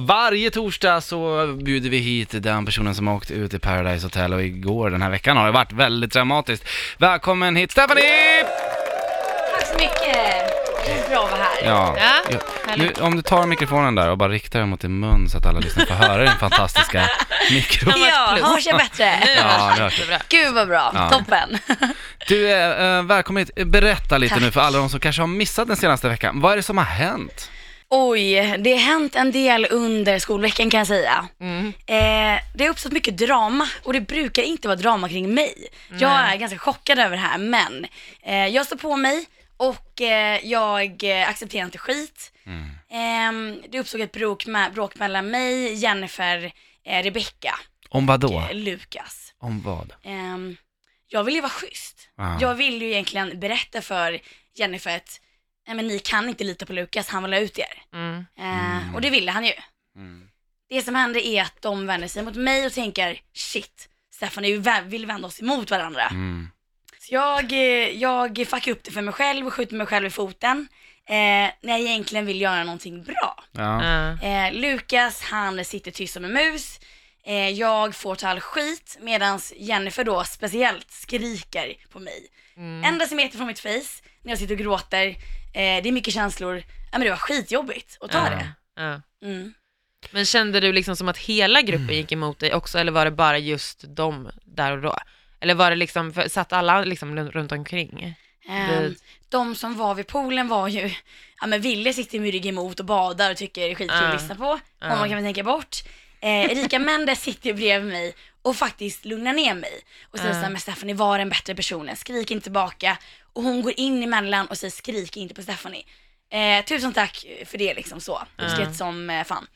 Varje torsdag så bjuder vi hit den personen som har åkt ut i Paradise Hotel och igår den här veckan har det varit väldigt dramatiskt. Välkommen hit Stephanie! Tack så mycket! Det är bra att vara här. Ja. Ja, Ja. Nu, härligt. om du tar mikrofonen där och bara riktar den mot din mun så att alla lyssnare får höra din fantastiska mikro. Ja, hörs jag bättre? Ja, nu hörs det. Gud vad bra, Ja. toppen. Du, äh, välkommen hit. Berätta lite Tack. nu för alla de som kanske har missat den senaste veckan. Vad är det som har hänt? Oj, det har hänt en del under skolveckan kan jag säga. Eh, det har uppstått mycket drama och det brukar inte vara drama kring mig. Jag är ganska chockad över det här men eh, jag står på mig och eh, jag eh, accepterar inte skit. Mm. Ehm, det uppstod ett bråk, med, bråk mellan mig, Jennifer, eh, Rebecca, Om vad då? eh, Lukas. Om vad? Ehm, jag vill ju vara schysst. Ah. Jag vill ju egentligen berätta för Jennifer att Nej, men ni kan inte lita på Lukas, han vill ha ut er. Mm. Ehm, Och det ville han ju. Mm. Det som händer är att de vänder sig mot mig och tänker shit, Stefan är ju vä- vill vända oss emot varandra. Mm. Så jag, eh, jag fuckar upp det för mig själv och skjuter mig själv i foten. Eh, när jag egentligen vill göra någonting bra. Ja. Ja. Eh, Lukas, han sitter tyst som en mus. Eh, jag får ta all skit medan Jennifer då speciellt skriker på mig. En decimeter från mitt face när jag sitter och gråter. Eh, det är mycket känslor. Ja men det var skitjobbigt att ta Ja. det. Ja. Mm. Men kände du liksom som att hela gruppen gick emot dig också, eller var det bara just de där och då? Eller var det liksom, för, satt alla liksom runt- runt omkring? Ehm, Mm. de som var vid poolen var ju, ja men Ville sitter med ryggen emot och badar och tycker det är skitkul Ah. att lyssna på. Ah. Honom kan vi tänka bort. Eh, Erika Mendes sitter ju bredvid mig och faktiskt lugnar ner mig och säger Ah. såhär, men Stephanie var den bättre personen, skrik inte tillbaka. Och hon går in emellan och säger skrik inte på Stephanie. Eh, tusen tack för det liksom så, uppskatt Ah. som eh, fan.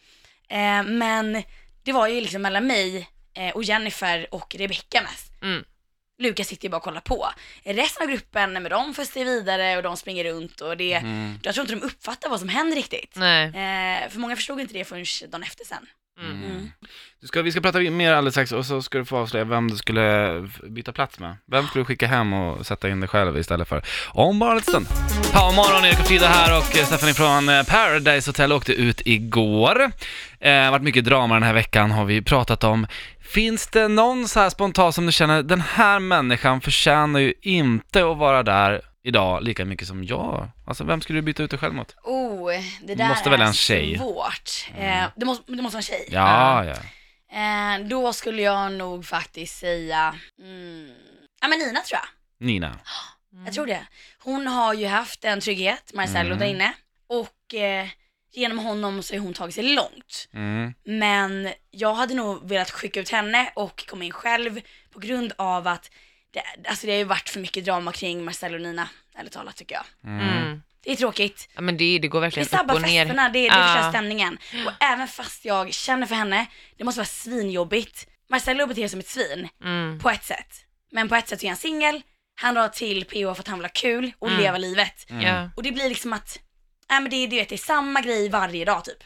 Eh, men det var ju liksom mellan mig eh, och Jennifer och Rebecca mest. Mm. Lukas sitter ju bara och kollar på. Resten av gruppen, nej, men de för sig vidare och de springer runt och det, Mm. jag tror inte de uppfattar vad som händer riktigt. Nej. Eh, för många förstod inte det förrän dagen efter sen. Mm. Mm. Du ska, vi ska prata mer alldeles strax och så ska du få avslöja vem du skulle f- byta plats med. Vem skulle du skicka hem och sätta in dig själv istället för? Om bara en liten stund. Ja, morgon, Erik och Frida här och eh, Stephanie från eh, Paradise Hotel åkte ut igår. Det eh, varit mycket drama den här veckan har vi pratat om. Finns det någon så här spontant som du känner, den här människan förtjänar ju inte att vara där idag lika mycket som jag? Alltså vem skulle du byta ut dig själv mot? Oh, det där Måste är väl en tjej? svårt. Eh, det, måste, det måste vara en tjej. Ja, ja. Eh, då skulle jag nog faktiskt säga, mm, ja men Nina tror jag. Nina. Jag tror det. Hon har ju haft en trygghet, Marcello Mm. där inne. Och eh, genom honom så har hon tagit sig långt. Mm. Men jag hade nog velat skicka ut henne och komma in själv på grund av att det, alltså det har ju varit för mycket drama kring Marcel och Nina, ärligt talat tycker jag. Mm. Mm. Det är tråkigt. Ja, men det, det går Det verkligen upp sabbar och ner. Ah. festerna, det, det Ja. förstör stämningen. Och även fast jag känner för henne, det måste vara svinjobbigt. Marcello beter sig som ett svin, Mm. på ett sätt. Men på ett sätt så är han singel, han drar till PH för att han vill ha kul och Mm. leva livet. Ja. Och det blir liksom att, nej men det, är- du vet, det är samma grej varje dag typ.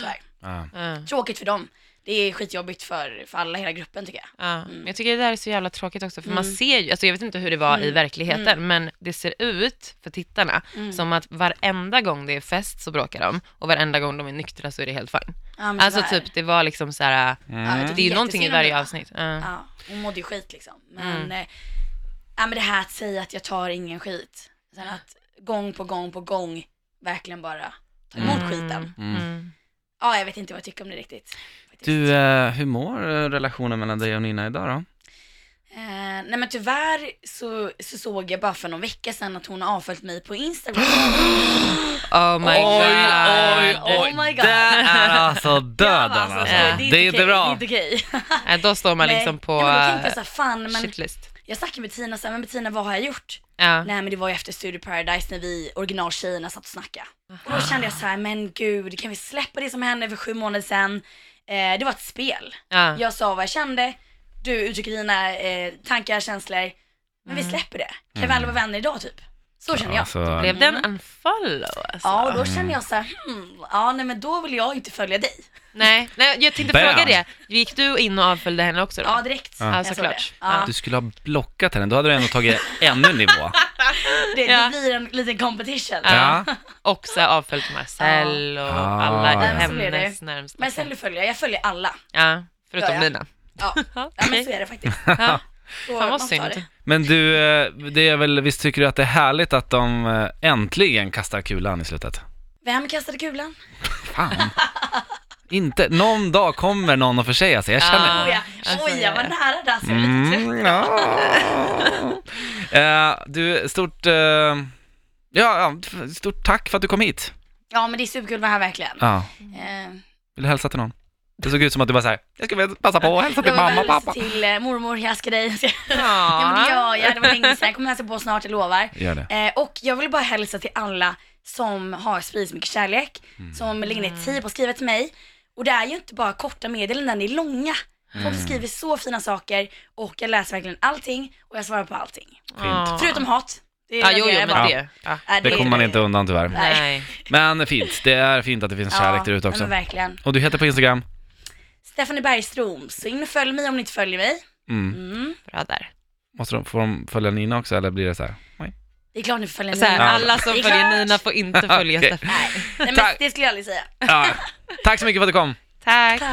Så här. Ja. Ja. Tråkigt för dem. Det är skitjobbigt för, för alla, hela gruppen tycker jag. Ja. Men jag tycker det där är så jävla tråkigt också, för man Mm. ser ju, alltså jag vet inte hur det var i Mm. verkligheten, men det ser ut för tittarna som att varenda gång det är fest så bråkar de, och varenda gång de är nyktra så är det helt fine. Ja, men Alltså tyvärr. typ, det var liksom så här. Ja, jag tycker det är ju någonting i jättesynd om varje det. avsnitt. Ja. Ja, hon mådde ju skit liksom. Men, Mm. eh, ja, men det här att säga att jag tar ingen skit. Sen att gång på gång på gång verkligen bara ta emot skiten. Mm. Ja, jag vet inte vad jag tycker om det riktigt. faktiskt. Du, eh, hur mår eh, relationen mellan dig och Nina idag då? Eh, nej men tyvärr så, så såg jag bara för någon vecka sedan att hon har avföljt mig på Instagram. Oh my god. oj, oj. Oh my God. Det är alltså döden Jag bara, alltså. så, Det är inte okej, bra. Det är inte okej. Nej, då står man liksom Nej, på nej, men då tänkte eh, jag såhär, fan men shitlist. jag snackade med Tina såhär, men Tina vad har jag gjort? Ja. Nej men det var ju efter Studio Paradise när vi originaltjejerna satt och snackade. Och då kände jag så här, men gud kan vi släppa det som hände för sju månader sedan? Eh, det var ett spel. Ja. Jag sa vad jag kände, Mm. du uttrycker dina eh, tankar, känslor. Men vi släpper det. Kan vi alla vara vänner idag typ? Så känner jag. Alltså, Blev det en unfollow alltså? Mm. Ja, och då känner jag så här, hmm, ja nej men då vill jag inte följa dig. Nej, nej, jag tänkte Bam. fråga det. Gick du in och avföljde henne också då? Ja, direkt. Ja. Jag Ja, såg det. såklart. Ja. du skulle ha blockat henne, då hade du ändå tagit ännu nivå. Det, det Ja. blir en liten competition. Ja. Och så avföljt Marcel och Ah, alla ja. Nej, men så blir det. hennes närmsta. Men sen du följer, jag följer alla. Ja, förutom Ja, ja. dina. Ja, ja men så Okej. är det faktiskt. Ja. Så Fan man vad tar synd. det. Men du, eh, det är väl, visst tycker du att det är härligt att de eh, äntligen kastar kulan i slutet? Vem kastade kulan? Fan. Inte, någon dag kommer någon att försäga sig, jag känner, Ah, Oj, ja. jag oj, ser jag var det. nära där så jag är lite trött. Mm, ja. Eh, du, stort, eh, ja, ja, f- stort tack för att du kom hit. Ja, men det är superkul att vara här verkligen. Ja. Eh, Vill du hälsa till någon? Det såg ut som att du var såhär, jag ska väl passa på att hälsa till jag mamma vill och pappa. till eh, mormor, jag älskar dig. Ja, men det Ja. gör jag. Det var länge sedan. Jag kommer hälsa på snart, jag lovar. Gör det. Eh, och jag vill bara hälsa till alla som har spridit så mycket kärlek, Mm. som lägger ner tid på att skriva till mig. Och det är ju inte bara korta meddelanden, det är långa. Folk Mm. skriver så fina saker och jag läser verkligen allting och jag svarar på allting. Fint. Förutom hat. Äh, Det Ja, jo, jo, reagerar jag bara. men det. Ja. Nej, Det kommer man inte undan tyvärr. Nej. Nej. Men fint, det är fint att det finns kärlek Ja, där ute nej, också. Men verkligen. Och du heter på Instagram? Stephanie Bergström, så in och följ mig om ni inte följer mig. Mm. Mm. Bra där. Måste de, får de följa Nina också eller blir det så här? Nej. Det är klart ni får följa Så här, mig. alla som Det är följer klart. Nina får inte följa Okej. Steffan. Nej, men Tack. det skulle jag aldrig säga. Ja. Tack så mycket för att du kom. Tack. Tack.